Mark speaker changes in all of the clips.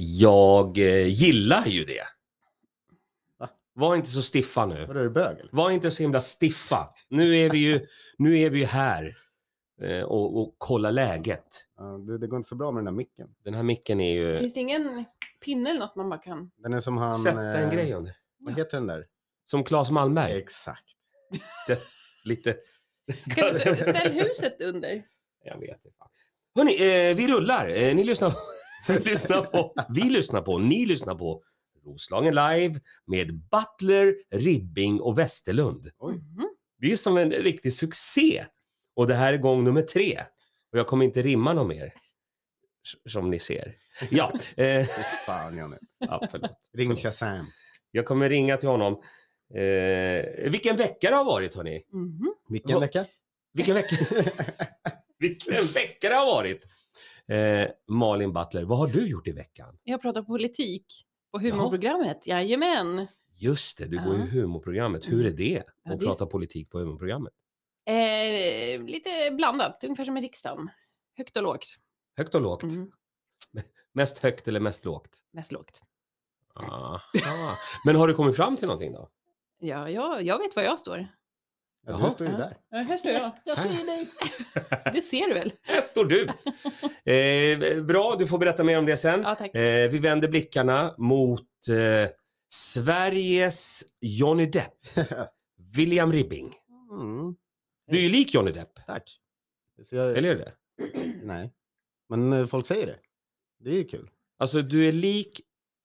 Speaker 1: Jag eh, gillar ju det. Var inte så stiffa nu.
Speaker 2: Vadå, är du bög eller?
Speaker 1: Var inte så himla stiffa. Nu är vi ju, nu är vi ju här eh, och, och kollar läget.
Speaker 2: Ja, du, det går inte så bra med den där micken.
Speaker 1: Den här micken är ju...
Speaker 3: Finns det ingen pinne eller något man bara kan?
Speaker 2: Den är som han...
Speaker 1: Sätta en
Speaker 2: eh,
Speaker 1: grej under.
Speaker 2: Vad heter den där?
Speaker 1: Som Claes Malmberg.
Speaker 2: Exakt.
Speaker 1: Lite...
Speaker 3: Kan du inte ställ huset under?
Speaker 1: Jag vet inte. Hörni, eh, vi rullar. Eh, ni lyssnar på, ni lyssnar på, vi lyssnar på, ni lyssnar på Roslagen live med Butler, Ribbing och Westerlund.
Speaker 2: Oj.
Speaker 3: Mhm.
Speaker 1: Det är som en riktig succé. Och det här är gång nummer tre. Och jag kommer inte rimma något mer. s- Som ni ser. Ja, eh,
Speaker 2: Fy Fan, Janne.
Speaker 1: ja förlåt.
Speaker 2: Ring Shazam.
Speaker 1: Jag kommer ringa till honom. Eh, vilken vecka det har varit hörni.
Speaker 3: Mhm.
Speaker 2: Vilken
Speaker 1: Vad-
Speaker 2: vecka?
Speaker 1: Vilken vecka, vilken vecka det har varit. Eh, Malin Butler, vad har du gjort i veckan?
Speaker 3: Jag pratar politik på humorprogrammet. Jajamän.
Speaker 1: Just det, du går ju
Speaker 3: Ja. Mm.
Speaker 1: humorprogrammet. Hur är det att
Speaker 3: Ja, det är-
Speaker 1: prata politik på humorprogrammet?
Speaker 3: Eh, lite blandat, ungefär som i riksdagen. Högt och lågt.
Speaker 1: Högt och lågt?
Speaker 3: Mhm.
Speaker 1: Mest högt eller mest lågt?
Speaker 3: Mest lågt.
Speaker 1: Aha. Men har du kommit fram till någonting då?
Speaker 3: Ja, jag, jag vet var jag står.
Speaker 2: Ja,
Speaker 1: Jaha.
Speaker 2: du står ju
Speaker 3: Ja.
Speaker 2: där.
Speaker 3: här står
Speaker 2: jag
Speaker 1: ser
Speaker 2: dig.
Speaker 3: Det ser du väl?
Speaker 1: Här står du! Eh, bra, du får berätta mer om det sen.
Speaker 3: Ja, tack.
Speaker 1: Eh, vi vänder blickarna mot eh, Sveriges Johnny Depp, William Ribbing.
Speaker 2: Mm,
Speaker 1: Du är ju lik Johnny Depp,
Speaker 2: tack. Så jag,
Speaker 1: eller hur det?
Speaker 2: Nej. Men eh, folk säger det. Det är ju kul.
Speaker 1: Alltså du är lik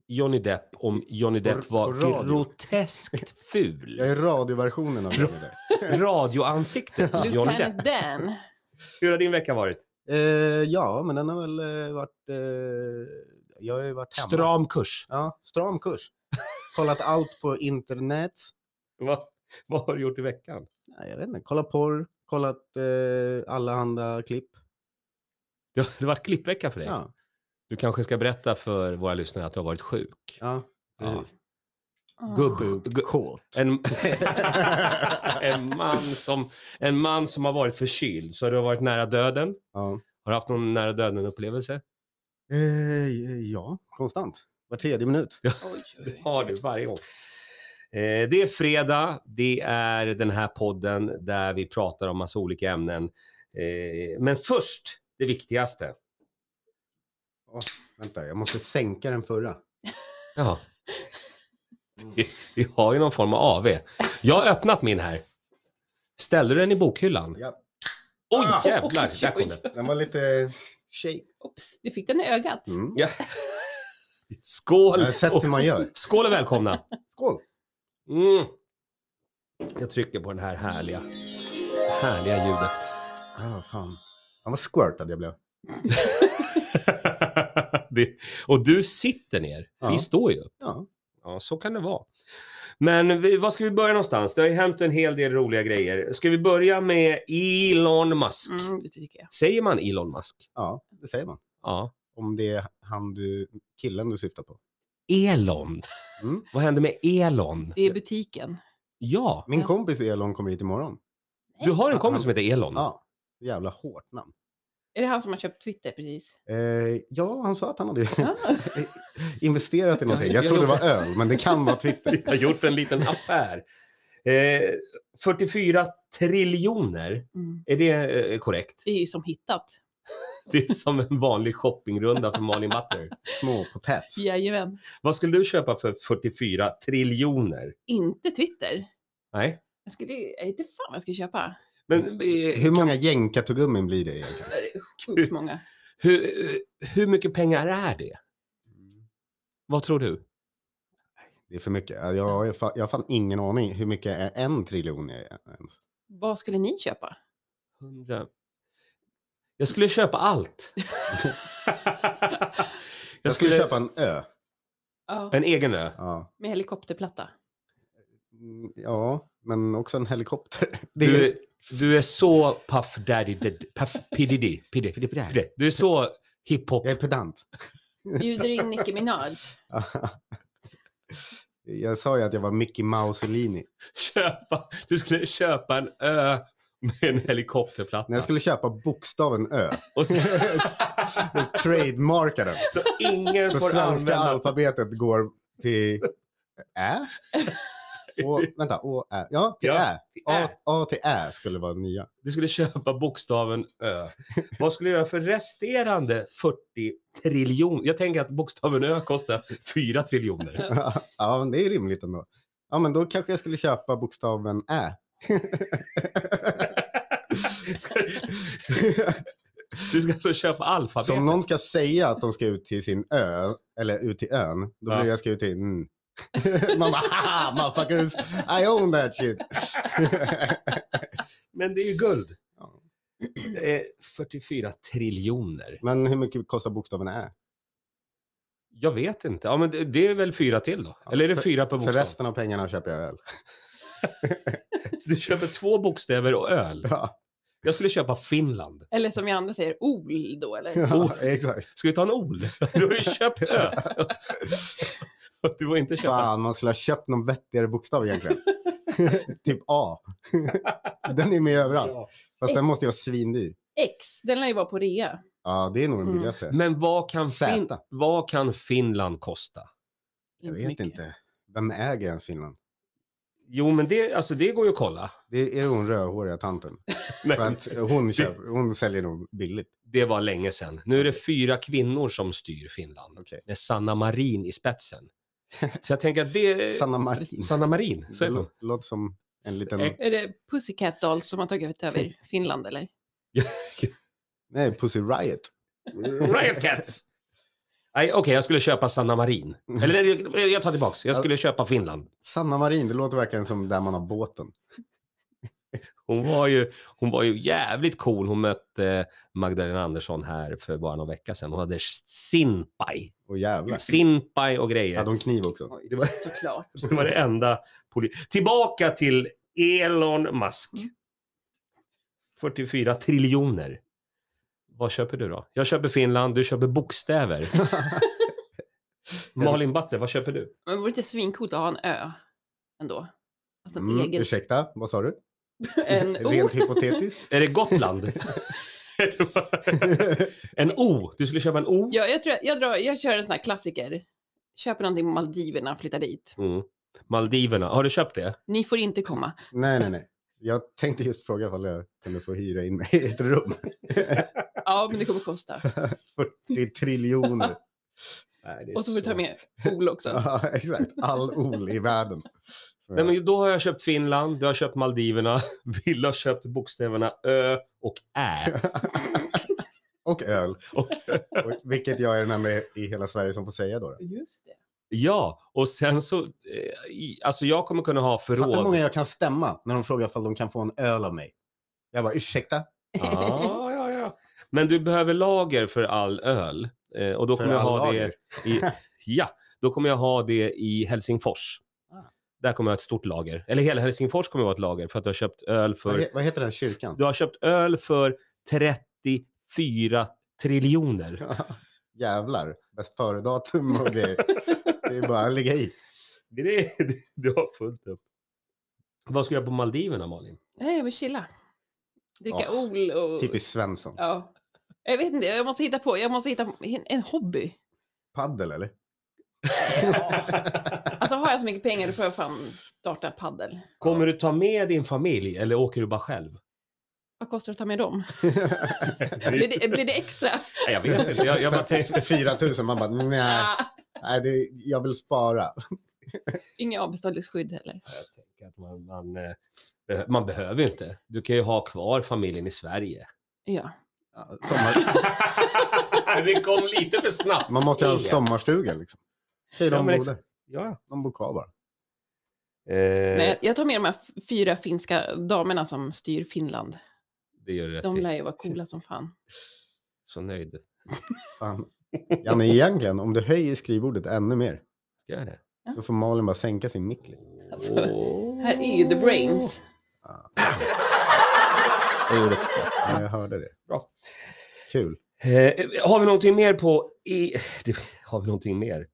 Speaker 1: Johnny Depp om Johnny Depp
Speaker 2: på
Speaker 1: var
Speaker 2: radio.
Speaker 1: groteskt
Speaker 2: Jag
Speaker 1: ful.
Speaker 2: är radioversionen av Johnny Depp.
Speaker 1: Radioansiktet Johnny Depp.
Speaker 3: Lieutenant Dan.
Speaker 1: Hur har din vecka varit?
Speaker 2: Eh, ja, men den har väl eh, varit... Eh, jag har ju varit hemma.
Speaker 1: Stram kurs.
Speaker 2: Ja, stram kurs. Kollat allt på internet.
Speaker 1: Vad, vad har du gjort i veckan?
Speaker 2: Nej, jag vet inte. Kollat porr. Kollat eh, allehanda klipp.
Speaker 1: Det har det har varit klippvecka för dig.
Speaker 2: Ja,
Speaker 1: Du kanske ska berätta för våra lyssnare att du har varit sjuk.
Speaker 2: ja.
Speaker 1: Ja.
Speaker 2: precis.
Speaker 3: Mm.
Speaker 1: Gubb,
Speaker 2: Sjukt
Speaker 1: gu,
Speaker 2: kåt.
Speaker 1: en, en, man som, en man som har varit förkyld. Så du har varit nära döden.
Speaker 2: Ja.
Speaker 1: Har du haft någon nära döden-upplevelse?
Speaker 2: Eh, ja, konstant. Var tredje minut.
Speaker 3: Ah, Oj, oj.
Speaker 1: har du varje gång. Eh, Det är fredag, det är den här podden där vi pratar om massa olika ämnen. Eh, Men först, det viktigaste.
Speaker 2: Vänta, jag måste sänka den förra.
Speaker 1: Ja. Vi- Vi har ju någon form av AV. Jag har öppnat min här. Ställde du den i bokhyllan?
Speaker 2: Ja,
Speaker 1: Oj
Speaker 2: Ah!
Speaker 1: jävlar,
Speaker 3: Oj,
Speaker 1: där kom
Speaker 3: oj.
Speaker 1: den.
Speaker 2: den var lite shake.
Speaker 3: Oops, du fick den i ögat.
Speaker 2: Mm.
Speaker 1: Ja. Skål!
Speaker 2: Jag har sett hur man gör.
Speaker 1: Skål och välkomna!
Speaker 2: Skål!
Speaker 1: Mm. Jag trycker på den här härliga, härliga ljudet.
Speaker 2: Ah, fan. Han var squirtad jag blev.
Speaker 1: det, och du sitter ner.
Speaker 2: Ja.
Speaker 1: Vi står ju upp.
Speaker 2: Ja.
Speaker 1: Ja, så kan det vara. Men vi, var ska vi börja någonstans? Det har ju hänt en hel del roliga grejer. Ska vi börja med Elon Musk?
Speaker 3: Mm, det tycker jag.
Speaker 1: Säger man Elon Musk?
Speaker 2: ja, det säger man.
Speaker 1: Ja.
Speaker 2: Om det är han du, killen du syftar på.
Speaker 1: Elon.
Speaker 2: Mm.
Speaker 1: Vad hände med Elon?
Speaker 3: Det är butiken.
Speaker 1: Ja,
Speaker 2: Min
Speaker 3: Ja.
Speaker 2: kompis Elon kommer hit imorgon.
Speaker 1: du har en kompis som heter Elon.
Speaker 2: Ja, jävla hårt namn.
Speaker 3: Är det han som har köpt Twitter precis?
Speaker 2: Eh, ja, han sa att han hade
Speaker 3: Ja.
Speaker 2: investerat i någonting. Jag trodde det var öl, men det kan vara typ Twitter.
Speaker 1: Jag har gjort en liten affär. Eh, 44 triljoner,
Speaker 3: Mm.
Speaker 1: är det eh, korrekt?
Speaker 3: Det är ju som hittat.
Speaker 1: Det är som en vanlig shoppingrunda för Malin Butler.
Speaker 2: Små potäts.
Speaker 3: Jajamän.
Speaker 1: Vad skulle du köpa för 44 triljoner?
Speaker 3: Inte Twitter.
Speaker 1: Nej.
Speaker 3: Jag skulle ju, jag vet inte fan vad jag ska köpa.
Speaker 1: Men eh,
Speaker 2: Mm. Hur många jänkartuggummin blir det egentligen?
Speaker 3: Sjukt många.
Speaker 1: hur, eh, hur mycket pengar är det?
Speaker 2: Mm.
Speaker 1: Vad tror du?
Speaker 2: Det är för mycket. Ja, Jag har, ju fa- jag har fan ingen aning hur mycket är en triljon är ens.
Speaker 3: Vad skulle ni köpa?
Speaker 1: 100. Jag skulle köpa allt.
Speaker 2: Jag skulle köpa en ö.
Speaker 3: Ja.
Speaker 1: en egen ö.
Speaker 2: Ja.
Speaker 3: Med helikopterplatta.
Speaker 2: Mm, ja, men också en helikopter. Det är ju...
Speaker 1: Du, du är så Puff Daddy, Dad- Puff Piddy, Piddy,
Speaker 2: För det är på det här.
Speaker 1: Piddy. Du är så hiphop.
Speaker 2: Jag är pedant.
Speaker 3: Bjuder in Nicki Minaj.
Speaker 2: jag sa ju att jag var Mickey Mausolini.
Speaker 1: Köpa, du skulle köpa en ö med en helikopterplatta.
Speaker 2: När jag skulle köpa bokstaven Ö
Speaker 1: Och så,
Speaker 2: och trademarka den.
Speaker 1: så ingen
Speaker 2: Så
Speaker 1: får
Speaker 2: svenska
Speaker 1: använda...
Speaker 2: alfabetet går till Ä. Och, vänta, Å, Ä. Ja, till
Speaker 1: Ja,
Speaker 2: Ä. A,
Speaker 1: Ä.
Speaker 2: A till Ä skulle vara nya.
Speaker 1: Du skulle köpa bokstaven Ö. Vad skulle du göra för resterande 40 triljon? Jag tänker att bokstaven Ö kostar 4 triljoner.
Speaker 2: ja, men det är rimligt ändå. Ja, men då kanske jag skulle köpa bokstaven Ä.
Speaker 1: Du ska alltså köpa alfabetet.
Speaker 2: Så om någon ska säga att de ska ut till sin ö, eller ut till ön, då blir
Speaker 1: Ja.
Speaker 2: det jag ska ut till... Mm. man bara, haha, motherfuckers, I own that shit.
Speaker 1: Men det är ju guld.
Speaker 2: Ja.
Speaker 1: Eh, 44 triljoner.
Speaker 2: Men hur mycket kostar bokstaven ä?
Speaker 1: Jag vet inte. Ja, men det- det är väl fyra till då? Eller är det
Speaker 2: för-
Speaker 1: fyra per
Speaker 2: För
Speaker 1: bokstav?
Speaker 2: resten av pengarna köper jag öl.
Speaker 1: Du köper två bokstäver och öl.
Speaker 2: Ja,
Speaker 1: Jag skulle köpa Finland.
Speaker 3: Eller som vi andra säger, OL då eller?
Speaker 2: ja
Speaker 1: Oh.
Speaker 2: exakt.
Speaker 1: Ska vi ta en OL? Du har ju köpt öl. Du får inte köpa...
Speaker 2: Fan, man skulle ha köpt någon vettigare bokstav egentligen. typ A. den är med överallt. Fast den måste ju vara svindyr.
Speaker 3: X, den lär ju vara på rea.
Speaker 2: Ja, det är nog den
Speaker 3: Mm.
Speaker 2: billigaste.
Speaker 1: Men vad kan, fin...
Speaker 2: Zäta.
Speaker 1: vad kan Finland kosta?
Speaker 2: Jag
Speaker 3: Inte
Speaker 2: vet
Speaker 3: mycket.
Speaker 2: inte. Vem äger ens Finland?
Speaker 1: Jo, men det, alltså, det går ju att kolla.
Speaker 2: Det är det hon rödhåriga tanten.
Speaker 1: Men
Speaker 2: För att eh, hon, köper, hon säljer nog billigt.
Speaker 1: det var länge sedan. Nu är det fyra kvinnor som styr Finland
Speaker 2: Okej.
Speaker 1: med Sanna Marin i spetsen. Så jag tänker att det...
Speaker 2: Eh,
Speaker 3: Eh,
Speaker 2: Sanna Marin.
Speaker 1: Sanna Marin, så
Speaker 2: Det
Speaker 1: heter hon.
Speaker 2: lå- låter som en liten...
Speaker 1: Eh,
Speaker 3: Är det Pussycat Dolls som har tagit över Finland eller?
Speaker 2: Nej, Pussy Riot. Mm.
Speaker 1: Riot Cats! Nej, Okej, jag skulle köpa Sanna Marin.
Speaker 2: Mm.
Speaker 1: Eller nej, jag tar tillbaks. Jag skulle köpa Finland.
Speaker 2: Sanna Marin, det låter verkligen som där man har båten.
Speaker 1: Hon var ju, hon var ju jävligt cool. Hon mötte Magdalena Andersson här för bara någon vecka sedan. Hon hade sinpai.
Speaker 2: Och jävlar.
Speaker 1: Sinpai och grejer.
Speaker 2: Hade hon kniv också?
Speaker 3: Oj,
Speaker 1: Det var-
Speaker 3: såklart.
Speaker 1: Det var det enda. Poli- Tillbaka till Elon Musk.
Speaker 3: Mm.
Speaker 1: 44 triljoner. Vad köper du då? Jag köper Finland, du köper bokstäver. Malin Butler, vad köper du?
Speaker 3: Men det vore inte svincoolt att ha en ö ändå? Alltså en
Speaker 2: Mm,
Speaker 3: egen...
Speaker 2: ursäkta, vad sa du?
Speaker 3: En o.
Speaker 2: Rent hypotetiskt.
Speaker 1: Är det Gotland? en O. Du skulle köpa en O?
Speaker 3: Ja, jag, tror jag, jag, drar, jag kör en sån här klassiker. Köper någonting på Maldiverna och flyttar dit.
Speaker 1: Mm. Maldiverna. Har du köpt det?
Speaker 3: Ni får inte komma.
Speaker 2: nej, nej, nej. Jag tänkte just fråga ifall jag kunde få hyra in mig i ett rum.
Speaker 3: Ja, men det kommer kosta.
Speaker 2: 40 triljoner.
Speaker 3: Och så får du ta med pool också.
Speaker 2: Ja, exakt. All ol i världen. Så
Speaker 1: Nej, men då har jag köpt Finland, du har köpt Maldiverna, Ville har köpt bokstäverna Ö och Ä.
Speaker 2: Och öl.
Speaker 1: Och
Speaker 2: Och- Vilket jag är den enda i hela Sverige som får säga då. då.
Speaker 3: Just det.
Speaker 1: Ja, och sen så, eh, i- alltså jag kommer kunna ha
Speaker 2: Fattar hur många
Speaker 1: förråd.
Speaker 2: jag kan stämma när de frågar ifall de kan få en öl av mig. Jag bara, ursäkta?
Speaker 1: Ja, ja, ja. Men du behöver lager för all öl. Eh, och då
Speaker 2: För
Speaker 1: kommer jag
Speaker 2: all
Speaker 1: ha det
Speaker 2: lager?
Speaker 1: i, ja, då kommer jag ha det i Helsingfors.
Speaker 2: Ah.
Speaker 1: Där kommer jag ha ett stort lager. Eller hela Helsingfors kommer att vara ett lager för att du har köpt öl
Speaker 2: Vad,
Speaker 1: för,
Speaker 2: he- vad heter den kyrkan?
Speaker 1: du har köpt öl för 34 triljoner.
Speaker 2: Jävlar, bäst före-datum och grejer. Det är bara att ligga i.
Speaker 1: Det är, du har fullt upp. Vad ska jag göra på Maldiverna, Malin?
Speaker 3: Nej, jag vill chilla. Dricka
Speaker 2: Ja,
Speaker 3: ol och...
Speaker 2: Typiskt Svensson.
Speaker 3: Ja. Jag vet inte, jag måste hitta på, jag måste hitta på en- en hobby.
Speaker 2: Paddel eller?
Speaker 3: Alltså har jag så mycket pengar då får jag fan starta paddel.
Speaker 1: Kommer du ta med din familj eller åker du bara själv?
Speaker 3: Vad kostar det att ta med dem? Blir det, blir det extra?
Speaker 1: Nej, jag vet inte. Jag, jag bara tänkte...
Speaker 2: 4 000, man bara nej,
Speaker 3: Ah,
Speaker 2: nej det, jag vill spara.
Speaker 3: inga avbeställningsskydd heller.
Speaker 1: Jag tänker att man, man, eh, behö- man behöver ju inte. Du kan ju ha kvar familjen i Sverige.
Speaker 3: Ja.
Speaker 2: Ja, Sommar,
Speaker 1: Det kom lite för snabbt.
Speaker 2: man måste ha en sommarstuga liksom. Hej,
Speaker 1: Ja,
Speaker 2: de,
Speaker 1: men
Speaker 2: bor
Speaker 1: exakt.
Speaker 2: där.
Speaker 1: Ja.
Speaker 2: de bor kvar bara.
Speaker 1: Eh,
Speaker 3: Nej, jag tar med de här f- fyra finska damerna som styr Finland.
Speaker 1: det gör du rätt
Speaker 3: De
Speaker 1: i.
Speaker 3: lär ju vara coola som fan.
Speaker 1: Så nöjd.
Speaker 2: Fan. Janne, egentligen, om du höjer skrivbordet ännu mer
Speaker 1: Ska jag det?
Speaker 2: så får Malin bara sänka sin mick lite.
Speaker 3: Alltså, Här är ju the brains.
Speaker 1: Jag gjorde ett skott.
Speaker 2: Ja, jag hörde det.
Speaker 1: Bra.
Speaker 2: Kul.
Speaker 1: Eh, har vi någonting mer på... I... Det, har vi någonting mer?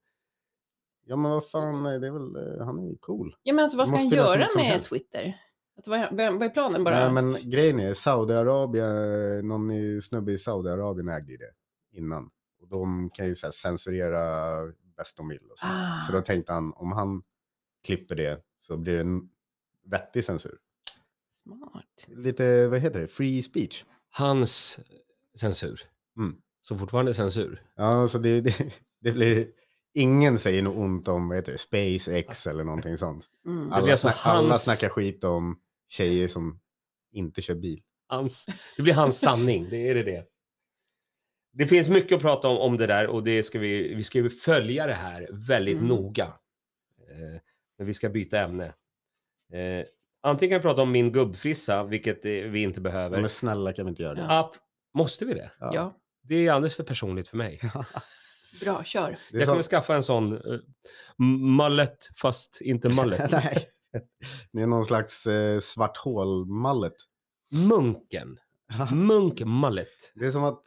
Speaker 2: Ja, men vad fan, det är väl, eh, han är ju cool.
Speaker 3: Ja men alltså vad ska
Speaker 2: Måste
Speaker 3: han
Speaker 2: ju lösa
Speaker 3: göra
Speaker 2: något som
Speaker 3: med
Speaker 2: helst.
Speaker 3: Twitter? Att vad, vad, vad är planen bara?
Speaker 2: Nej, men grejen är Saudiarabien, eh, någon i- snubbe i Saudiarabien ägde ju det innan. Och de kan ju så här censurera bäst de vill. Och så.
Speaker 3: Ah.
Speaker 2: så då tänkte han, om han klipper det så blir det en vettig censur.
Speaker 3: Smart.
Speaker 2: Lite, vad heter det, free speech.
Speaker 1: Hans censur.
Speaker 2: Mm.
Speaker 1: Så fortfarande censur.
Speaker 2: Ja, så det, det, det blir, ingen säger något ont om, vad heter det, SpaceX eller någonting sånt.
Speaker 3: Mm.
Speaker 1: Ja.
Speaker 2: Alla,
Speaker 1: blir alltså
Speaker 2: snack, alla
Speaker 1: hans-
Speaker 2: snackar skit om tjejer som inte kör bil.
Speaker 1: Hans, det blir hans sanning, det är det det. Det finns mycket att prata om, om det där och det ska vi, vi ska ju följa det här väldigt
Speaker 3: Mm.
Speaker 1: noga. Eh, men vi ska byta ämne. Eh, antingen kan vi prata om min gubbfrissa, vilket eh, vi inte behöver.
Speaker 2: Men snälla kan vi inte göra det?
Speaker 1: App, måste vi det?
Speaker 3: Ja,
Speaker 1: Det är alldeles för personligt för mig.
Speaker 3: bra, kör.
Speaker 2: Det är
Speaker 1: Jag
Speaker 2: som-
Speaker 1: kommer skaffa en sån uh, mallet fast inte mallet.
Speaker 2: Nej. Det är någon slags eh, svart hål-mallet.
Speaker 1: Munken. Mm. Munkmallet.
Speaker 2: Det är som att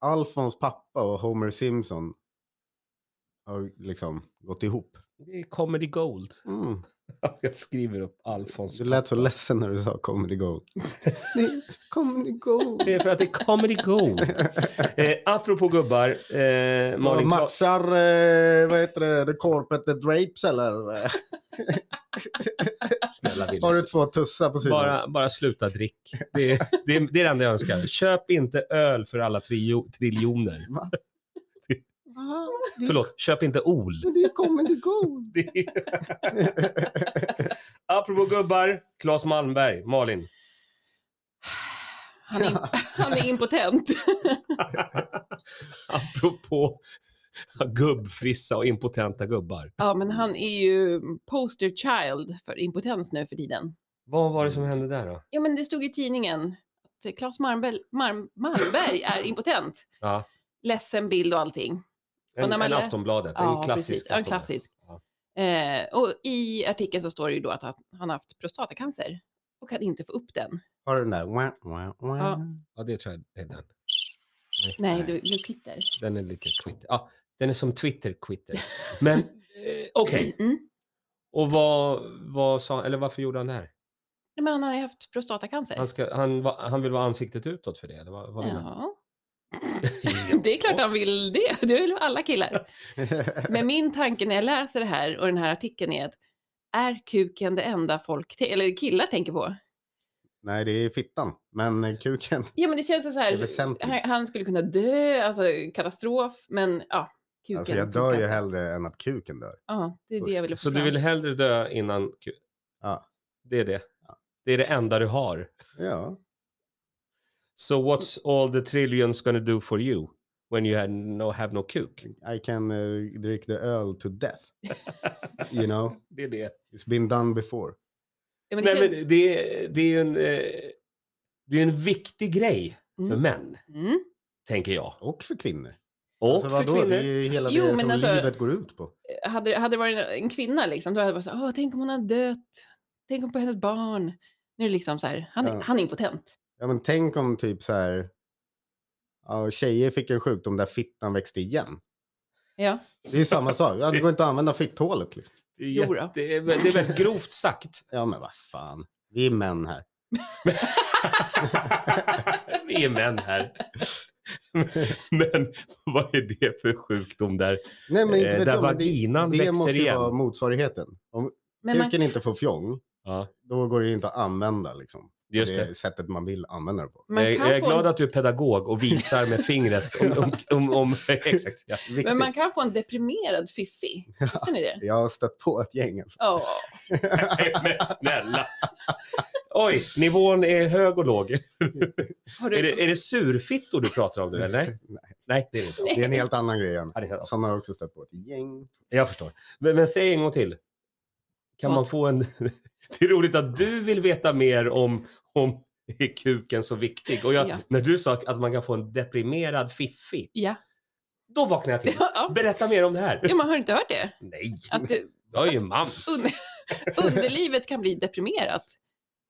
Speaker 2: Alfons pappa och Homer Simpson har liksom gått ihop.
Speaker 1: Det är comedy gold.
Speaker 2: Mm.
Speaker 1: Jag skriver upp Alfons.
Speaker 2: Du lät så ledsen när du sa comedy gold. Nej, comedy gold.
Speaker 1: Det är för att det är comedy gold. Eh, apropå gubbar, eh,
Speaker 2: Ja,
Speaker 1: Malin, Kla-
Speaker 2: matchar, eh, vad heter det, The Corpet The Drapes eller? eh,
Speaker 1: snälla Willis.
Speaker 2: Har du två tussar på sidan?
Speaker 1: bara, bara sluta drick. Det, är- det, är- det är det enda jag önskar. Köp inte öl för alla trio, triljoner.
Speaker 2: Va? Va? Det är-
Speaker 1: Förlåt, köp inte OL.
Speaker 2: Det är comedy gold.
Speaker 1: Det är- Apropå gubbar, Claes Malmberg, Malin.
Speaker 3: Han är, han är impotent.
Speaker 1: Apropå gubbfrissa och impotenta gubbar.
Speaker 3: Ja, men han är ju poster child för impotens nu för tiden.
Speaker 1: Vad var det som hände där då?
Speaker 3: Ja, men det stod i tidningen att Claes Malmberg, Malm, Malmberg är impotent.
Speaker 1: Ja,
Speaker 3: Ledsen bild och allting. Och
Speaker 1: en,
Speaker 3: när man
Speaker 1: en
Speaker 3: lä-
Speaker 1: Aftonbladet, en
Speaker 3: Ja,
Speaker 1: klassisk.
Speaker 3: precis. Ja, en
Speaker 1: Aftonbladet.
Speaker 3: klassisk.
Speaker 1: Ja.
Speaker 3: Eh, och i artikeln så står det ju då att han- han haft prostatacancer och kan inte få upp den.
Speaker 2: Har du den där? Wah, wah, wah.
Speaker 3: Ja.
Speaker 1: Ja, det tror jag är den.
Speaker 3: Nej, du, du klickar.
Speaker 1: Den är lite quitter. Ja, den är som Twitter-quitter. Men eh, okej,
Speaker 3: Mm.
Speaker 1: och vad, vad sa eller varför gjorde han det här?
Speaker 3: Nej, Men han har ju haft prostatacancer.
Speaker 2: Alltså,
Speaker 1: Han, ska, han, va- han vill vara ansiktet utåt för det? Eller vad, vad vill han?
Speaker 3: Ja. Det är klart han vill det. Det vill alla killar. Men min tanke när jag läser det här och den här artikeln är att är kuken det enda folk, te- eller killar tänker på?
Speaker 2: Nej, det är fittan. Men eh, kuken.
Speaker 3: Ja, men det känns så
Speaker 2: Det är
Speaker 3: här.
Speaker 2: väsentligt.
Speaker 3: Han, han skulle kunna dö, alltså katastrof, men ja, kuken.
Speaker 2: Alltså jag dör
Speaker 3: funkar
Speaker 2: ju
Speaker 3: inte.
Speaker 2: hellre än att kuken dör.
Speaker 3: Ja, det är det
Speaker 2: Usch.
Speaker 3: jag ville få
Speaker 1: Så du
Speaker 3: fram.
Speaker 1: vill hellre dö innan kul?
Speaker 2: Ja.
Speaker 1: Det är det.
Speaker 2: Ja.
Speaker 1: Det är det enda du har.
Speaker 2: Ja,
Speaker 1: So what's all the trillions gonna do for you when you had no, have no kuk?
Speaker 2: I can eh, drink the öl to death. You know,
Speaker 1: Det är det.
Speaker 2: it's been done before.
Speaker 3: Ja, men det
Speaker 1: Nej,
Speaker 3: känns...
Speaker 1: men det, det är ju en, eh, det är en viktig grej för
Speaker 3: Mm.
Speaker 1: män,
Speaker 3: Mm.
Speaker 1: tänker jag.
Speaker 2: Och för kvinnor.
Speaker 1: Och
Speaker 2: alltså,
Speaker 1: för
Speaker 2: vadå?
Speaker 1: kvinnor.
Speaker 2: Det är ju hela
Speaker 3: Jo,
Speaker 2: det
Speaker 3: men
Speaker 2: som
Speaker 3: alltså-
Speaker 2: livet går ut på.
Speaker 3: Hade, hade det varit en- en kvinna liksom, då hade jag bara så här, "Åh, tänk om hon har dött. Tänk om på hennes barn. Nu är det liksom så här, han, är-
Speaker 2: Ja.
Speaker 3: han är impotent.
Speaker 2: Ja, men tänk om typ så här. Ja, tjejer fick en sjukdom där fittan växte igen.
Speaker 3: Ja,
Speaker 2: Det är ju samma sak. Ja, det går inte att använda fitthålet. Liksom.
Speaker 1: Det är,
Speaker 3: Jo då.
Speaker 1: jätte, det är vä- det är väldigt grovt sagt.
Speaker 2: Ja, men vad fan. Vi är män här.
Speaker 1: Vi är män här. Men vad är det för sjukdom där?
Speaker 2: Nej, men inte
Speaker 1: Eh,
Speaker 2: vet
Speaker 1: där
Speaker 2: jag, men det-
Speaker 1: vaginan
Speaker 2: Det
Speaker 1: växer
Speaker 2: måste ju
Speaker 1: igen.
Speaker 2: vara motsvarigheten. Om
Speaker 3: men man,
Speaker 2: kuken inte får fjong,
Speaker 1: Ja,
Speaker 2: då går det ju inte att använda liksom. på
Speaker 1: just det.
Speaker 2: det sättet man vill använda det på.
Speaker 3: man
Speaker 1: jag,
Speaker 3: kan
Speaker 1: jag är
Speaker 3: få en-
Speaker 1: glad att du är pedagog och visar med fingret om... om, om, om exakt, ja.
Speaker 2: Viktigt.
Speaker 3: Men man kan få en deprimerad fiffi. Visste ni det?
Speaker 2: Jag har stött på ett gäng alltså.
Speaker 3: Ja.
Speaker 1: Nej, men snälla. Oj, nivån är hög och låg.
Speaker 3: Har du...
Speaker 1: Är det, är det surfittor du pratar om nu eller? Nej, Nej det är det inte.
Speaker 2: Det är en helt annan grej än.
Speaker 1: Ja, det är det.
Speaker 2: Sådana har jag också stött på ett gäng.
Speaker 1: Jag förstår. Men, men säg en gång till. Kan
Speaker 3: Ja.
Speaker 1: man få en... Det är roligt att du vill veta mer om, om är kuken så viktig? Och jag,
Speaker 3: Ja.
Speaker 1: när du sa att man kan få en deprimerad fiffi,
Speaker 3: Ja.
Speaker 1: då vaknade jag till.
Speaker 3: Ja.
Speaker 1: Berätta mer om det här.
Speaker 3: ja, men har du inte hört det?
Speaker 1: Nej,
Speaker 3: Att du,
Speaker 1: jag är ju man.
Speaker 3: un... underlivet kan bli deprimerat.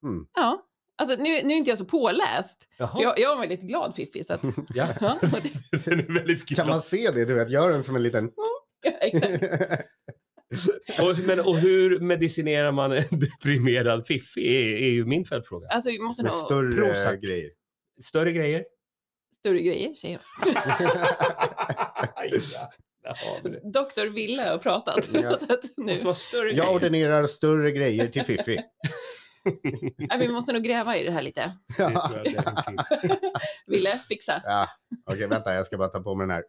Speaker 2: Mm.
Speaker 3: Ja. Alltså, nu, nu är inte jag så påläst.
Speaker 1: Jaha,
Speaker 3: för Jag, jag är en väldigt glad fiffi. Så att,
Speaker 1: ja.
Speaker 3: ja,
Speaker 1: Den är väldigt
Speaker 2: Kan man
Speaker 1: glad.
Speaker 2: se det? Du vet, gör den som en liten...
Speaker 3: exakt.
Speaker 1: Och, men, och hur medicinerar man en deprimerad fiffi är, är ju min följdfråga.
Speaker 3: Alltså vi måste
Speaker 2: Med
Speaker 3: nog...
Speaker 2: större
Speaker 1: Prozac.
Speaker 2: grejer.
Speaker 1: Större grejer?
Speaker 3: Större grejer säger
Speaker 1: ja, där har vi det.
Speaker 3: jag. Doktor Ville har pratat.
Speaker 2: Ja.
Speaker 3: Så att nu.
Speaker 1: Måste vara större
Speaker 2: Jag
Speaker 1: grejer.
Speaker 2: ordinerar större grejer till Fiffi.
Speaker 3: Nej, vi måste nog gräva i det här lite.
Speaker 1: Det tror jag definitivt.
Speaker 3: Ville, fixa.
Speaker 2: Ja. Okej, vänta, jag ska bara ta på mig den här.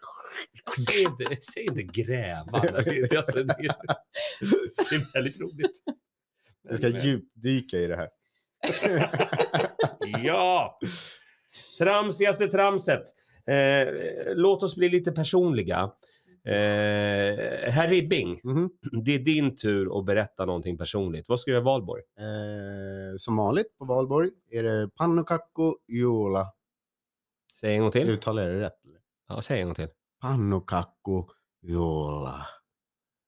Speaker 1: Alltså, Säg inte, säg inte gräva. Det är, alltså, det är, det är väldigt roligt.
Speaker 2: Jag ska djupdyka i det här.
Speaker 1: eh, Ja! Tramsigaste tramset. Eh, låt oss bli lite personliga. Eh, Herr Ribbing,
Speaker 2: Mhm.
Speaker 1: det är din tur att berätta någonting personligt. Vad ska du göra i Valborg?
Speaker 2: Eh, som vanligt på valborg är det pannokakko juola.
Speaker 1: Säg en gång till.
Speaker 2: Uttalar jag det rätt? eller?
Speaker 1: Ja, säg en gång till.
Speaker 2: Pannokakko juola.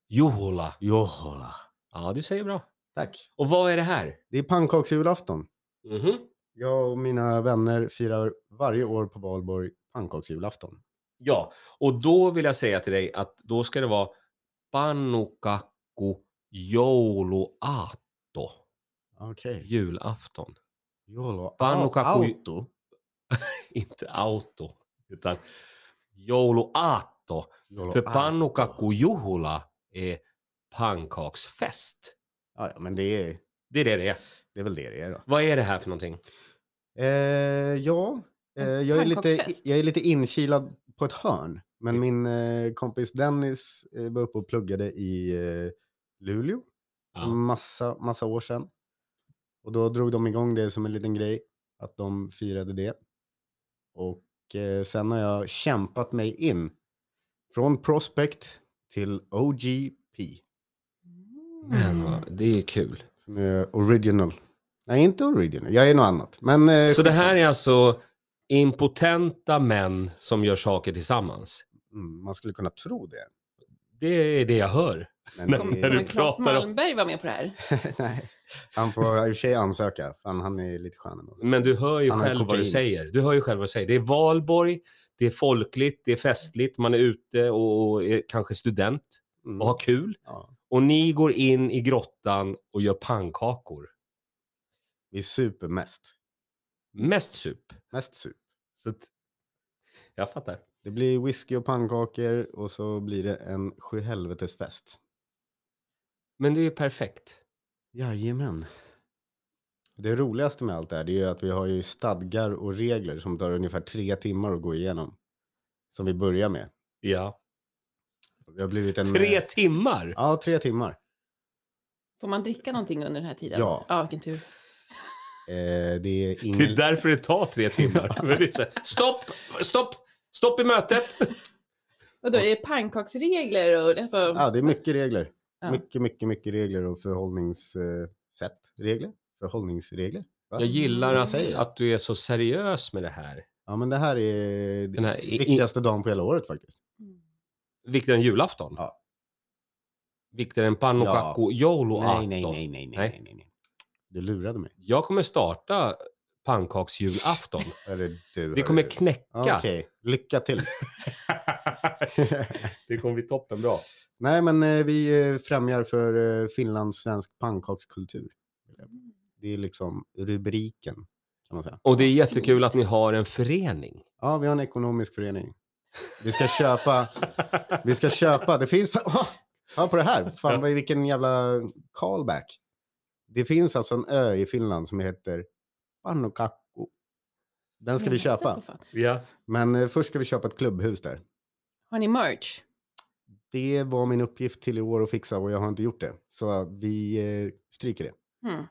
Speaker 1: Johola.
Speaker 2: Juola.
Speaker 1: Ja, du säger bra.
Speaker 2: Tack.
Speaker 1: Och vad är det här?
Speaker 2: Det är pannkaksjulafton.
Speaker 1: Mhm.
Speaker 2: Jag och mina vänner firar varje år på valborg pannkaksjulafton.
Speaker 1: Ja, och då vill jag säga till dig att då ska det vara Pannukakku jouluaatto.
Speaker 2: Okej.
Speaker 1: Julafton.
Speaker 2: Juola.
Speaker 1: Pannokakko-
Speaker 2: Auto.
Speaker 1: Inte auto, utan jouluaatto.
Speaker 2: Juola
Speaker 1: För
Speaker 2: auto.
Speaker 1: Pannukakku juhula är pannkaksfest.
Speaker 2: Ja, ja, men det är,
Speaker 1: Det är det det är.
Speaker 2: det är väl det det är då.
Speaker 1: Vad är det här för någonting?
Speaker 2: Eh, ja, eh,
Speaker 3: En
Speaker 2: jag, är lite,
Speaker 3: pannkaksfest.
Speaker 2: jag är lite inkilad på ett hörn. Men
Speaker 1: Mm.
Speaker 2: min eh, kompis Dennis eh, var uppe och pluggade i eh, Luleå
Speaker 1: Ja.
Speaker 2: massa, massa år sedan. Och då drog de igång det som en liten grej, att de firade det. Och eh, sen har jag kämpat mig in från prospect till OGP,
Speaker 1: det är kul.
Speaker 2: som är original. Nej, inte original, jag är något annat. Men, eh,
Speaker 1: Så det här är alltså impotenta män som gör saker tillsammans.
Speaker 2: mm, man skulle kunna tro det.
Speaker 1: Det är det jag hör.
Speaker 2: Men
Speaker 1: Nej,
Speaker 2: det-
Speaker 1: när du
Speaker 3: Kommer Claes
Speaker 1: pratar om-
Speaker 3: Malmberg vara med på det här?
Speaker 2: Nej, han får i och för sig ansöka. Fan, han är lite skön ändå.
Speaker 1: Men du hör ju
Speaker 2: Han har
Speaker 1: själv vad du
Speaker 2: kokain.
Speaker 1: säger. Du hör ju själv vad du säger. Det är valborg, det är folkligt, det är festligt, man är ute och, och är kanske student
Speaker 2: Mm.
Speaker 1: och har kul.
Speaker 2: Ja,
Speaker 1: Och ni går in i grottan och gör pannkakor.
Speaker 2: vi super mest.
Speaker 1: Mest sup.
Speaker 2: Mest sup.
Speaker 1: Så att, jag fattar.
Speaker 2: Det blir whisky och pannkakor och så blir det en sjuhelvetesfest.
Speaker 1: Men det är ju perfekt.
Speaker 2: Jajamän. Det roligaste med allt det här det är ju att vi har ju stadgar och regler som tar ungefär tre timmar att gå igenom. Som vi börjar med.
Speaker 1: Ja. eh,
Speaker 2: Det har blivit en...
Speaker 1: Tre timmar!
Speaker 2: Ja, tre timmar.
Speaker 3: Får man dricka någonting under den här tiden?
Speaker 2: Ja.
Speaker 3: Ja, vilken tur.
Speaker 2: Eh, det är
Speaker 1: Det är
Speaker 2: ingen...
Speaker 1: därför det tar tre timmar. Men det är så här, stopp! Stopp! Stopp i mötet!
Speaker 3: Vadå, är det pannkaksregler och alltså,
Speaker 2: Ja, det är mycket regler.
Speaker 3: Ja.
Speaker 2: Mycket, mycket, mycket regler och förhållningssätt. Regler? Förhållningsregler? Va?
Speaker 1: Jag gillar
Speaker 2: Vad
Speaker 1: att,
Speaker 2: säger jag?
Speaker 1: att du är så seriös med det här.
Speaker 2: Ja, men det här är
Speaker 1: Den här i- i-
Speaker 2: viktigaste dagen på hela året faktiskt.
Speaker 3: Mm.
Speaker 1: Viktigare än julafton?
Speaker 2: Ja.
Speaker 1: Viktigare än pannokakko
Speaker 2: Nej,
Speaker 1: jouluafton?
Speaker 2: nej, nej, nej, nej,
Speaker 1: Nej.
Speaker 2: nej, nej, nej. Du lurade mig.
Speaker 1: Jag kommer starta pannkaksjulafton.
Speaker 2: Eller du.
Speaker 1: Vi
Speaker 2: hörru
Speaker 1: kommer
Speaker 2: du.
Speaker 1: knäcka.
Speaker 2: Ja, Okej, lycka till.
Speaker 1: det kommer bli toppenbra.
Speaker 2: nej, men eh, vi eh, främjar för eh, Finlands svensk pannkakskultur. Det är liksom rubriken kan man säga.
Speaker 1: Och det är jättekul att ni har en förening.
Speaker 2: Ja, vi har en ekonomisk förening. Vi ska köpa, vi ska köpa, det finns, oh, ja på det här, fan vad- vilken jävla callback. Det finns alltså en ö i Finland som heter Pannokakko. Den ska vi
Speaker 3: Jag är ledsen
Speaker 2: köpa,
Speaker 3: på Mm, fan.
Speaker 1: Ja.
Speaker 2: men eh, först ska vi köpa ett klubbhus där.
Speaker 3: Har ni merch?
Speaker 2: Det var min uppgift till i år att fixa och jag har inte gjort det. Så vi eh, stryker det.
Speaker 3: Hmm.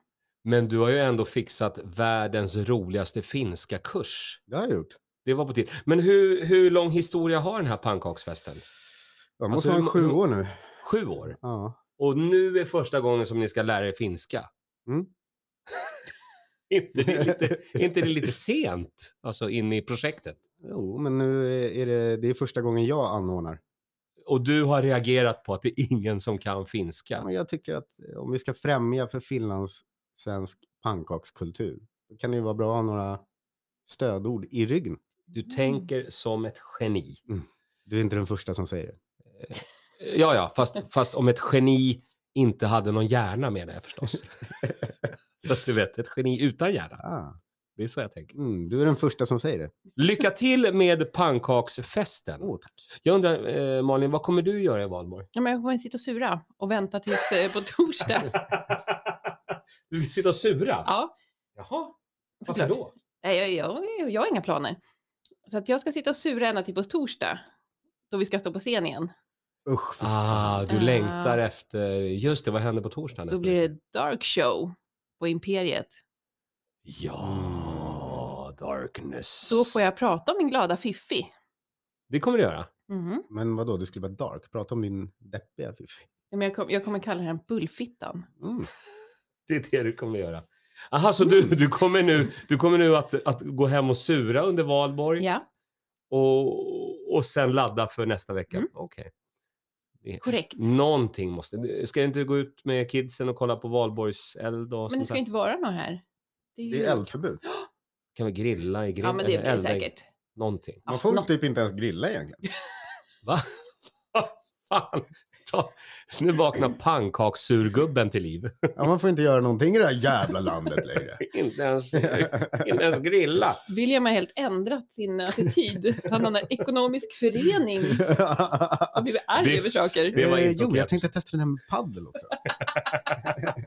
Speaker 1: Men du har ju ändå fixat världens roligaste finska kurs.
Speaker 2: Det har jag gjort.
Speaker 1: Det var på tid. Men hur, hur lång historia har den här pannkaksfesten?
Speaker 2: Jag
Speaker 1: Alltså,
Speaker 2: måste
Speaker 1: hur
Speaker 2: vara
Speaker 1: må-
Speaker 2: sju
Speaker 1: hur-
Speaker 2: år nu.
Speaker 1: Sju år.
Speaker 2: Ja.
Speaker 1: Och nu är första gången som ni ska lära er finska.
Speaker 2: Mm.
Speaker 1: inte, det lite, inte det lite sent? Alltså in i projektet.
Speaker 2: Jo, men nu är det, det är första gången jag anordnar.
Speaker 1: Och du har reagerat på att det är ingen som kan
Speaker 2: Ja,
Speaker 1: finska.
Speaker 2: men jag tycker att eh, om vi ska främja för Finlands svensk pannkakskultur, då kan det ju vara bra att ha några stödord i ryggen.
Speaker 1: Du tänker som ett geni.
Speaker 2: Du är inte den första som säger det.
Speaker 1: Ja, ja, fast, fast om ett geni inte hade någon hjärna menar jag förstås. så att du vet, ett geni utan hjärna.
Speaker 2: Ah,
Speaker 1: Det är så jag tänker.
Speaker 2: mm, du är den första som säger det.
Speaker 1: Lycka till med pannkaksfesten.
Speaker 2: Åh, tack.
Speaker 1: Jag undrar, eh, Malin, vad kommer du göra i Valborg?
Speaker 3: Ja, men jag kommer sitta och sura och vänta tills eh, på torsdag.
Speaker 1: Du ska sitta och sura?
Speaker 3: Ja,
Speaker 1: Jaha, varför
Speaker 3: såklart.
Speaker 1: då?
Speaker 3: Nej, jag, jag, jag har inga planer. Så att jag ska sitta och sura ända till på torsdag. Då vi ska stå på scen igen.
Speaker 2: Usch, fy
Speaker 1: Ah,
Speaker 2: fan.
Speaker 1: du
Speaker 3: Ah.
Speaker 1: längtar efter... Just det, vad händer på torsdagen?
Speaker 3: Då blir det dark show på Imperiet.
Speaker 1: Ja, darkness.
Speaker 3: Då får jag prata om min glada Fiffi.
Speaker 1: Det kommer du göra.
Speaker 3: Mhm.
Speaker 2: Men vadå, det skulle vara dark? Prata om din deppiga fiffi.
Speaker 3: Ja, Men jag, kom, jag kommer kalla den Bullfittan.
Speaker 2: Mm.
Speaker 1: Det är det du kommer göra. Aha, så du, du kommer nu, du kommer nu att, att gå hem och sura under valborg
Speaker 3: Ja,
Speaker 1: och, och sen ladda för nästa vecka?
Speaker 3: Mm.
Speaker 1: Okej. Det-
Speaker 3: korrekt.
Speaker 1: Någonting måste... Ska jag inte gå ut med kidsen och kolla på valborgseld och
Speaker 3: Men
Speaker 1: sånt
Speaker 3: det ska
Speaker 1: där?
Speaker 3: ju inte vara någon här. ju-
Speaker 2: Det är eldförbud.
Speaker 1: Kan vi grilla i grill?
Speaker 3: Ja, men det
Speaker 1: eller
Speaker 3: blir det
Speaker 1: elda i-
Speaker 3: säkert.
Speaker 1: Någonting.
Speaker 2: Man
Speaker 3: Ja,
Speaker 2: får
Speaker 3: nå-
Speaker 2: typ inte ens grilla egentligen.
Speaker 1: Va? Fan! Ta, nu vaknar pannkakssurgubben till liv.
Speaker 2: Ja, man får inte göra någonting i det här jävla landet längre.
Speaker 1: inte, ens, inte ens grilla.
Speaker 3: William har helt ändrat sin attityd. Han har en ekonomisk förening och blivit arg
Speaker 1: Det-
Speaker 3: över saker.
Speaker 1: det- var
Speaker 2: Eh,
Speaker 1: inte
Speaker 2: jo,
Speaker 1: okej.
Speaker 2: jag tänkte testa den här med paddel också.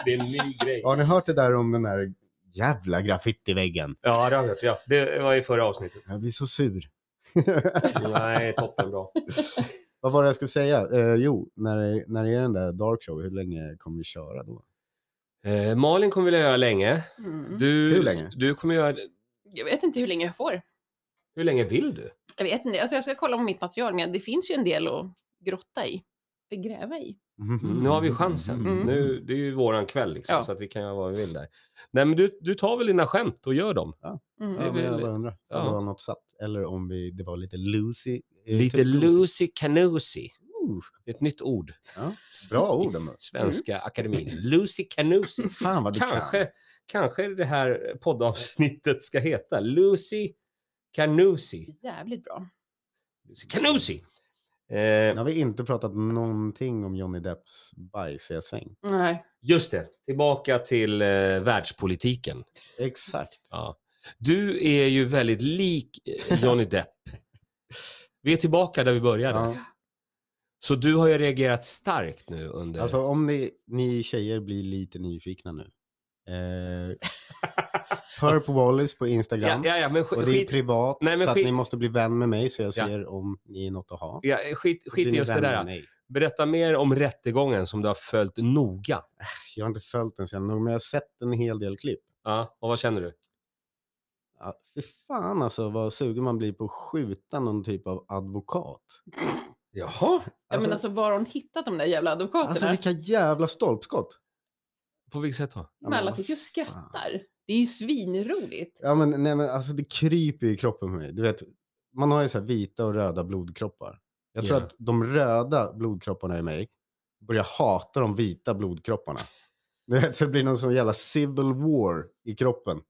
Speaker 1: Det är en ny grej.
Speaker 2: Har ni hört det där om den där jävla graffitiväggen?
Speaker 1: Ja, det har jag hört. Ja. Det var i förra avsnittet.
Speaker 2: Jag blir så sur.
Speaker 1: Nej, toppenbra.
Speaker 2: Vad var det jag skulle säga? Eh, jo, när, det- när det är den där dark show, hur länge kommer vi köra då?
Speaker 1: Eh, Malin kommer vilja göra länge.
Speaker 3: Mm.
Speaker 1: Du,
Speaker 2: Hur länge?
Speaker 1: Du kommer göra...
Speaker 3: Jag vet inte hur länge jag får.
Speaker 1: Hur länge vill du?
Speaker 3: Jag vet inte. Alltså jag ska kolla om mitt material, men det finns ju en del att grotta i. Gräva i.
Speaker 1: Mm, Nu har vi chansen.
Speaker 3: Mm.
Speaker 1: Nu, det är ju våran kväll liksom,
Speaker 3: Ja.
Speaker 1: så att vi kan göra vad vi vill där. Nej, men du, du tar väl dina skämt och gör dem.
Speaker 3: Mm.
Speaker 2: Ja, men jag bara undrar om
Speaker 1: Ja.
Speaker 2: det var något satt eller om vi, det var lite loosey. eh,
Speaker 1: Lite
Speaker 2: typ
Speaker 1: Lucy Canusi.
Speaker 2: Uh,
Speaker 1: Ett nytt ord.
Speaker 2: Ja, bra ord ändå.
Speaker 1: Svenska
Speaker 3: Mm.
Speaker 1: akademin. Lucy Canusi.
Speaker 2: Fan vad du
Speaker 1: kanske,
Speaker 2: kan.
Speaker 1: kanske det här poddavsnittet ska heta Lucy Canusi.
Speaker 3: Jävligt bra.
Speaker 1: Lucy Canusi!
Speaker 2: Nu
Speaker 1: Eh,
Speaker 2: har vi inte pratat någonting om Johnny Depps bajsiga säng.
Speaker 3: Nej.
Speaker 1: just det, tillbaka till eh, världspolitiken.
Speaker 2: Exakt.
Speaker 1: Ja. Du är ju väldigt lik eh, Johnny Depp. Vi är tillbaka där vi började.
Speaker 2: Ja.
Speaker 1: Så du har ju reagerat starkt nu under...
Speaker 2: Alltså om ni, ni tjejer blir lite nyfikna nu. Eh, Herp Wallis på
Speaker 1: ja,
Speaker 2: Instagram.
Speaker 1: ja, ja, men sk-
Speaker 2: Och det är
Speaker 1: skit,
Speaker 2: privat,
Speaker 1: Nej, men
Speaker 2: så
Speaker 1: skit-
Speaker 2: att ni måste bli vän med mig så jag
Speaker 1: Ja.
Speaker 2: ser om ni är något att ha.
Speaker 1: ja, skit,
Speaker 2: Så
Speaker 1: skit
Speaker 2: blir
Speaker 1: i
Speaker 2: ni
Speaker 1: just det
Speaker 2: vän med
Speaker 1: där.
Speaker 2: mig.
Speaker 1: Berätta mer om rättegången som du har följt noga.
Speaker 2: Äh, Jag har inte följt den sen, men jag har sett en hel del klipp.
Speaker 1: Ja, och vad känner du?
Speaker 2: Ja, fy fan alltså vad sugen man blir på att skjuta någon typ av advokat.
Speaker 1: Jaha.
Speaker 3: Ja, men alltså var har hon hittat de där jävla advokaterna?
Speaker 2: alltså vilka jävla stolpskott.
Speaker 1: På vilket sätt då?
Speaker 2: Ja,
Speaker 3: Men alla
Speaker 2: vad
Speaker 3: sitter ju och
Speaker 2: fan.
Speaker 3: skrattar. Det är ju svinroligt.
Speaker 2: Ja men, nej, men alltså det kryper i kroppen för mig. Du vet, man har ju så här vita och röda blodkroppar. Jag tror
Speaker 1: Ja.
Speaker 2: att de röda blodkropparna i mig börjar hata de vita blodkropparna. Du vet, så det blir någon sån jävla civil war i kroppen.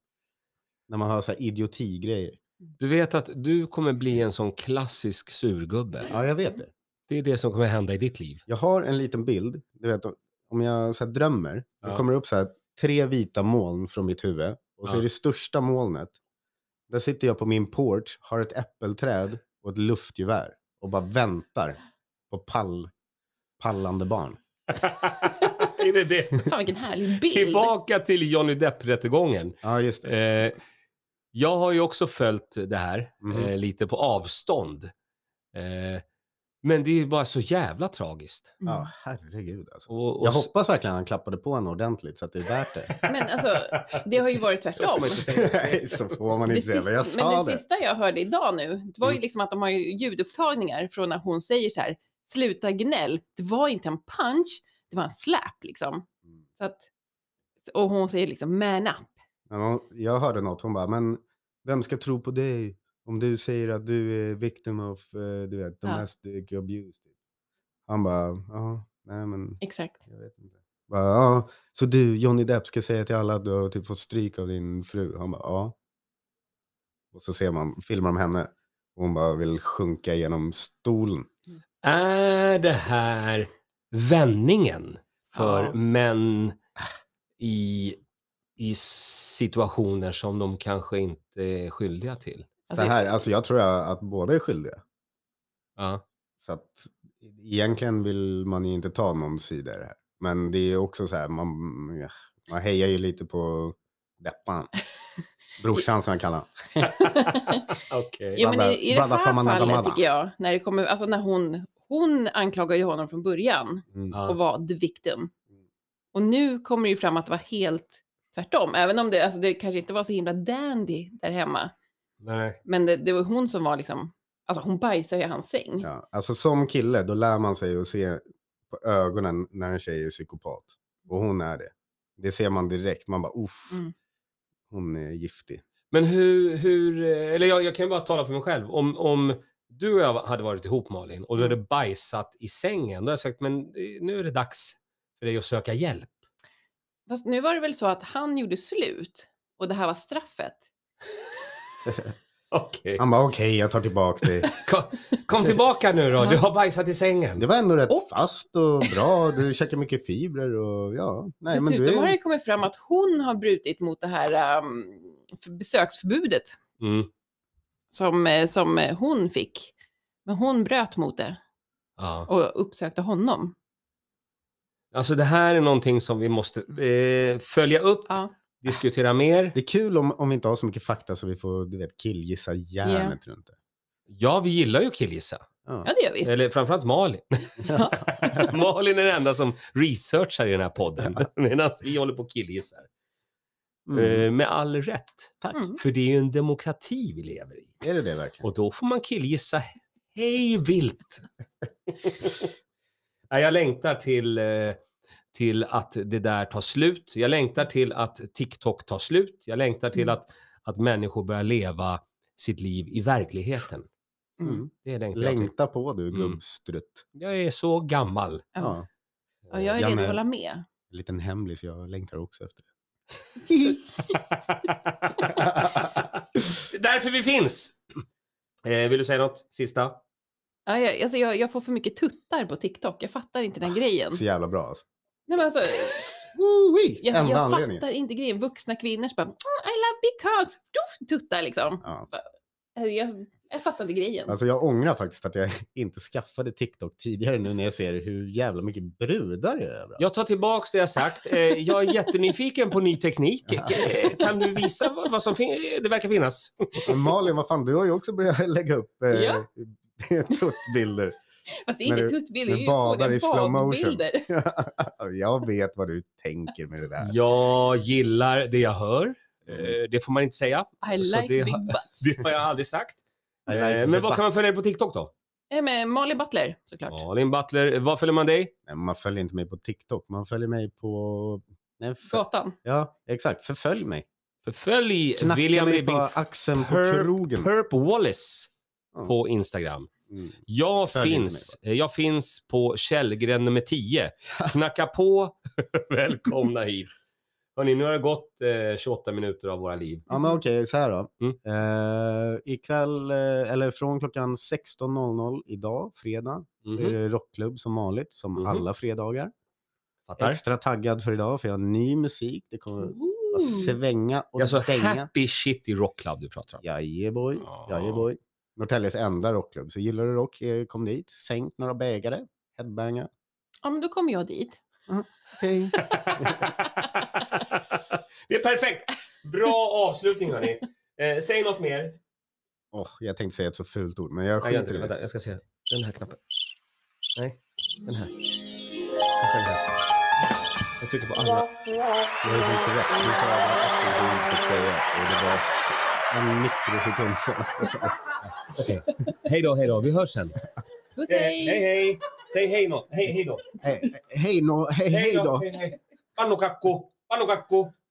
Speaker 2: När man har så här idiotigrejer.
Speaker 1: Du vet att du kommer bli en sån klassisk surgubbe.
Speaker 2: Ja, jag vet det.
Speaker 1: Det är det som kommer hända i ditt liv.
Speaker 2: Jag har en liten bild. Du vet, om jag så här drömmer, då
Speaker 1: Ja.
Speaker 2: kommer det upp så här tre vita moln från mitt huvud. Och så
Speaker 1: Ja.
Speaker 2: är det största molnet. Där sitter jag på min porch, har ett äppelträd och ett luftgevär. Och bara väntar på pall, pallande barn.
Speaker 1: är det det?
Speaker 3: Fan vilken härlig bild.
Speaker 1: Tillbaka till Johnny Depp-rättegången.
Speaker 2: Ja, just det.
Speaker 1: Eh, jag har ju också följt det här
Speaker 2: Mhm.
Speaker 1: eh, lite på avstånd. Eh, men det är ju bara så jävla tragiskt.
Speaker 3: Mm.
Speaker 2: Ja, herregud alltså.
Speaker 1: Och, och
Speaker 2: Jag hoppas verkligen han klappade på en ordentligt så att det är värt det.
Speaker 3: Men alltså, det har ju varit
Speaker 1: så får
Speaker 3: tvärtom.
Speaker 1: man inte säga.
Speaker 2: Nej, så får man
Speaker 3: Det
Speaker 2: inte säga.
Speaker 3: sista,
Speaker 2: Men jag sa
Speaker 3: men det,
Speaker 2: det.
Speaker 3: sista jag hörde idag nu, det var ju
Speaker 2: Mm.
Speaker 3: liksom att de har ju ljudupptagningar från när hon säger så här, sluta gnäll, det var inte en punch, det var en slap liksom.
Speaker 2: Mm.
Speaker 3: Så att, och hon säger liksom man up.
Speaker 2: Men hon, jag hörde något, hon bara, men vem ska tro på dig om du säger att du är victim of eh, du vet,
Speaker 3: Ja.
Speaker 2: domestic abuse? Typ. Han bara, ja, nej men
Speaker 3: Exakt.
Speaker 2: jag vet inte. Bara, ja, så du, Johnny Depp, ska säga till alla att du har typ fått stryk av din fru? Han bara, ja. Och så ser man, filmar de henne och hon bara vill sjunka genom stolen.
Speaker 1: Är det här vändningen för
Speaker 3: Ja. alltså
Speaker 1: män i, i situationer som de kanske inte är skyldiga till?
Speaker 3: Alltså,
Speaker 2: så här, alltså jag tror jag att båda är skyldiga.
Speaker 1: Ja.
Speaker 2: Så att egentligen vill man ju inte ta någon sida i det här. Men det är också så här, man, ja, man hejar ju lite på Deppan. Brorsan som jag kallar honom.
Speaker 1: Okej.
Speaker 3: Jo, men
Speaker 2: Baba-
Speaker 3: i, i det
Speaker 2: Baba Famana
Speaker 3: här fallet
Speaker 2: Damada.
Speaker 3: tycker jag, när det kommer, alltså när hon, hon anklagar ju honom från början
Speaker 2: Mm.
Speaker 1: Ja.
Speaker 3: och var the victim. Och nu kommer det ju fram att det var helt tvärtom, även om det, alltså det kanske inte var så himla dandy där hemma.
Speaker 1: Nej.
Speaker 3: Men det, det var hon som var liksom, alltså hon bajsade i hans säng.
Speaker 2: Ja, alltså som kille, då lär man sig att se på ögonen när en tjej är psykopat. Och hon är det. Det ser man direkt. Man bara, uff,
Speaker 3: Mm.
Speaker 2: hon är giftig.
Speaker 1: Men hur, hur eh, eller jag, jag kan ju bara tala för mig själv. Om, om du och jag hade varit ihop Malin och du hade bajsat i sängen, då hade jag sagt men eh, nu är det dags för dig att söka hjälp.
Speaker 3: Fast nu var det väl så att han gjorde slut och det här var straffet.
Speaker 1: Okej.
Speaker 2: Han bara, okej, jag tar tillbaka dig.
Speaker 1: Kom, kom tillbaka nu då,
Speaker 3: Ja.
Speaker 1: du har bajsat i sängen.
Speaker 2: Det var ändå rätt
Speaker 3: Och-
Speaker 2: fast och bra. Du käkar mycket fibrer och ja. Nej, men
Speaker 3: Dessutom
Speaker 2: du
Speaker 3: har det
Speaker 2: är...
Speaker 3: kommit fram att hon har brutit mot det här ehm, för- besöksförbudet
Speaker 1: Mm.
Speaker 3: som, eh, som eh, hon fick. Men hon bröt mot det
Speaker 1: Ja.
Speaker 3: och uppsökte honom.
Speaker 1: Alltså det här är någonting som vi måste eh, följa upp,
Speaker 3: Ja.
Speaker 1: diskutera mer.
Speaker 2: Det är kul om, om vi inte har så mycket fakta så vi får du vet, killgissa järnet runt det.
Speaker 1: Ja, vi gillar ju att killgissa.
Speaker 3: ja, det gör
Speaker 2: Eh,
Speaker 3: vi.
Speaker 1: Eller framförallt Malin.
Speaker 3: Ja.
Speaker 1: Malin är den enda som researchar i den här podden. Medan vi håller på och killgissar.
Speaker 2: Mm.
Speaker 1: Eh, Med all rätt.
Speaker 2: Tack.
Speaker 3: Mm.
Speaker 1: För det är ju en demokrati vi lever i.
Speaker 2: Är det det verkligen?
Speaker 1: Och då får man killgissa hej vilt. Nej, jag längtar till, eh, till att det där tar slut. Jag längtar till att TikTok tar slut. Jag längtar till
Speaker 3: Mm.
Speaker 1: att, att människor börjar leva sitt liv i verkligheten.
Speaker 3: Mm.
Speaker 2: Mm.
Speaker 1: Det längtar jag till.
Speaker 2: Längta på du
Speaker 1: Mm.
Speaker 2: gubbstrutt.
Speaker 1: Jag är så gammal.
Speaker 3: Ja.
Speaker 2: mm. Ja.
Speaker 3: Ja, jag är
Speaker 2: Jag
Speaker 3: redo
Speaker 2: med.
Speaker 3: att hålla med.
Speaker 2: En liten hemlis, jag längtar också efter det.
Speaker 1: Det är därför vi finns! Eh, vill du säga något? Sista?
Speaker 3: Ja, jag, alltså, jag, jag får för mycket tuttar på TikTok. Jag fattar inte
Speaker 2: Ah,
Speaker 3: den grejen.
Speaker 2: Så jävla bra alltså.
Speaker 3: Nej, men alltså,
Speaker 2: Woo-wee!
Speaker 3: jag
Speaker 2: Enda
Speaker 3: jag
Speaker 2: anledningen.
Speaker 3: fattar inte grejen. Vuxna kvinnor som bara mm, I love big cocks. Tjoff, Tuttar liksom.
Speaker 2: Ja.
Speaker 3: Alltså, Jag, jag fattar inte grejen.
Speaker 2: Alltså jag ångrar faktiskt att jag inte skaffade TikTok tidigare nu när jag ser hur jävla mycket brudar det är överallt.
Speaker 1: Jag tar tillbaks det jag sagt. Eh, jag är jättenyfiken på ny teknik. Eh, Kan du visa vad, vad som fin- eh, det verkar finnas?
Speaker 2: Men Malin, vad fan, du har ju också börjat lägga upp eh,
Speaker 3: Ja.
Speaker 2: tuttbilder.
Speaker 3: Fast det är
Speaker 2: när
Speaker 3: inte
Speaker 2: du-
Speaker 3: tuttbilder,
Speaker 2: när
Speaker 3: det är ju
Speaker 2: badar
Speaker 3: badbilder.
Speaker 2: i slow motion.
Speaker 3: badbilder.
Speaker 2: jag vet vad du tänker med det där.
Speaker 1: Jag gillar det jag hör. Eh, det får man inte säga.
Speaker 3: I
Speaker 1: Så
Speaker 3: like
Speaker 1: det-
Speaker 3: big butts.
Speaker 1: Det har jag aldrig sagt.
Speaker 2: I
Speaker 1: Eh,
Speaker 2: like the
Speaker 1: men vad
Speaker 2: butt.
Speaker 1: kan man följa dig på TikTok då?
Speaker 3: Jag är med Malin Butler såklart.
Speaker 1: Malin Butler, eh, var följer man dig?
Speaker 2: Nej, man följer inte mig på TikTok, man följer mig på... Nej, för...
Speaker 3: Gatan.
Speaker 2: Ja, exakt. Förfölj mig.
Speaker 1: Följ
Speaker 2: Knacka
Speaker 1: William
Speaker 2: mig på
Speaker 1: Ribbing,
Speaker 2: axeln på
Speaker 1: Perp-
Speaker 2: krogen.
Speaker 1: Perp Wallace
Speaker 2: Ja.
Speaker 1: på Instagram.
Speaker 2: Mm.
Speaker 1: Jag
Speaker 2: Följ inte
Speaker 1: finns, eh, jag finns på Källgren nummer 10. Knacka på, välkomna hit. Hörrni, nu har det gått eh, 28 minuter av våra liv.
Speaker 2: Ja, men okej, så här då.
Speaker 1: Mm.
Speaker 2: Eh, ikväll, eh, eller från klockan 16.00 idag, fredag, så
Speaker 1: Mhm.
Speaker 2: är det rockklubb som vanligt, som
Speaker 1: Mhm.
Speaker 2: alla fredagar.
Speaker 1: Fattar?
Speaker 2: Extra taggad för idag, för jag har ny musik. Det kommer att svänga och
Speaker 1: Alltså
Speaker 2: dänga.
Speaker 1: happy shit i rockklubb du pratar om.
Speaker 2: Jajeboy,
Speaker 1: Ja.
Speaker 2: jajeboy. Norrtäljes enda rockklubb, så gillar du rock, eh, kom dit. Sänk några bägare, headbanga.
Speaker 3: Ja, men då kommer jag dit.
Speaker 2: Hej.
Speaker 1: Det är perfekt! Bra avslutning hörni. Eh, säg något mer.
Speaker 2: Åh, jag tänkte säga ett så fult ord, men jag
Speaker 1: Nej, jag,
Speaker 2: skiter i det.
Speaker 1: vänta, jag ska se. Den här knappen. Nej, den här. Jag trycker på andra.
Speaker 2: Det var ju så korrekt. Du sa att det var inte fick säga och det var s- en mikrosekund från att jag sa.
Speaker 1: Okej. Hej då, hej då. Vi hörs sen.
Speaker 3: Puss
Speaker 1: Eh, hej,
Speaker 3: hej!
Speaker 1: hej. Säg hej något. Hej, hej då.
Speaker 2: Hej, hej, no, hej, hej då.
Speaker 1: hej, hej. Pannukakku, pannukakku.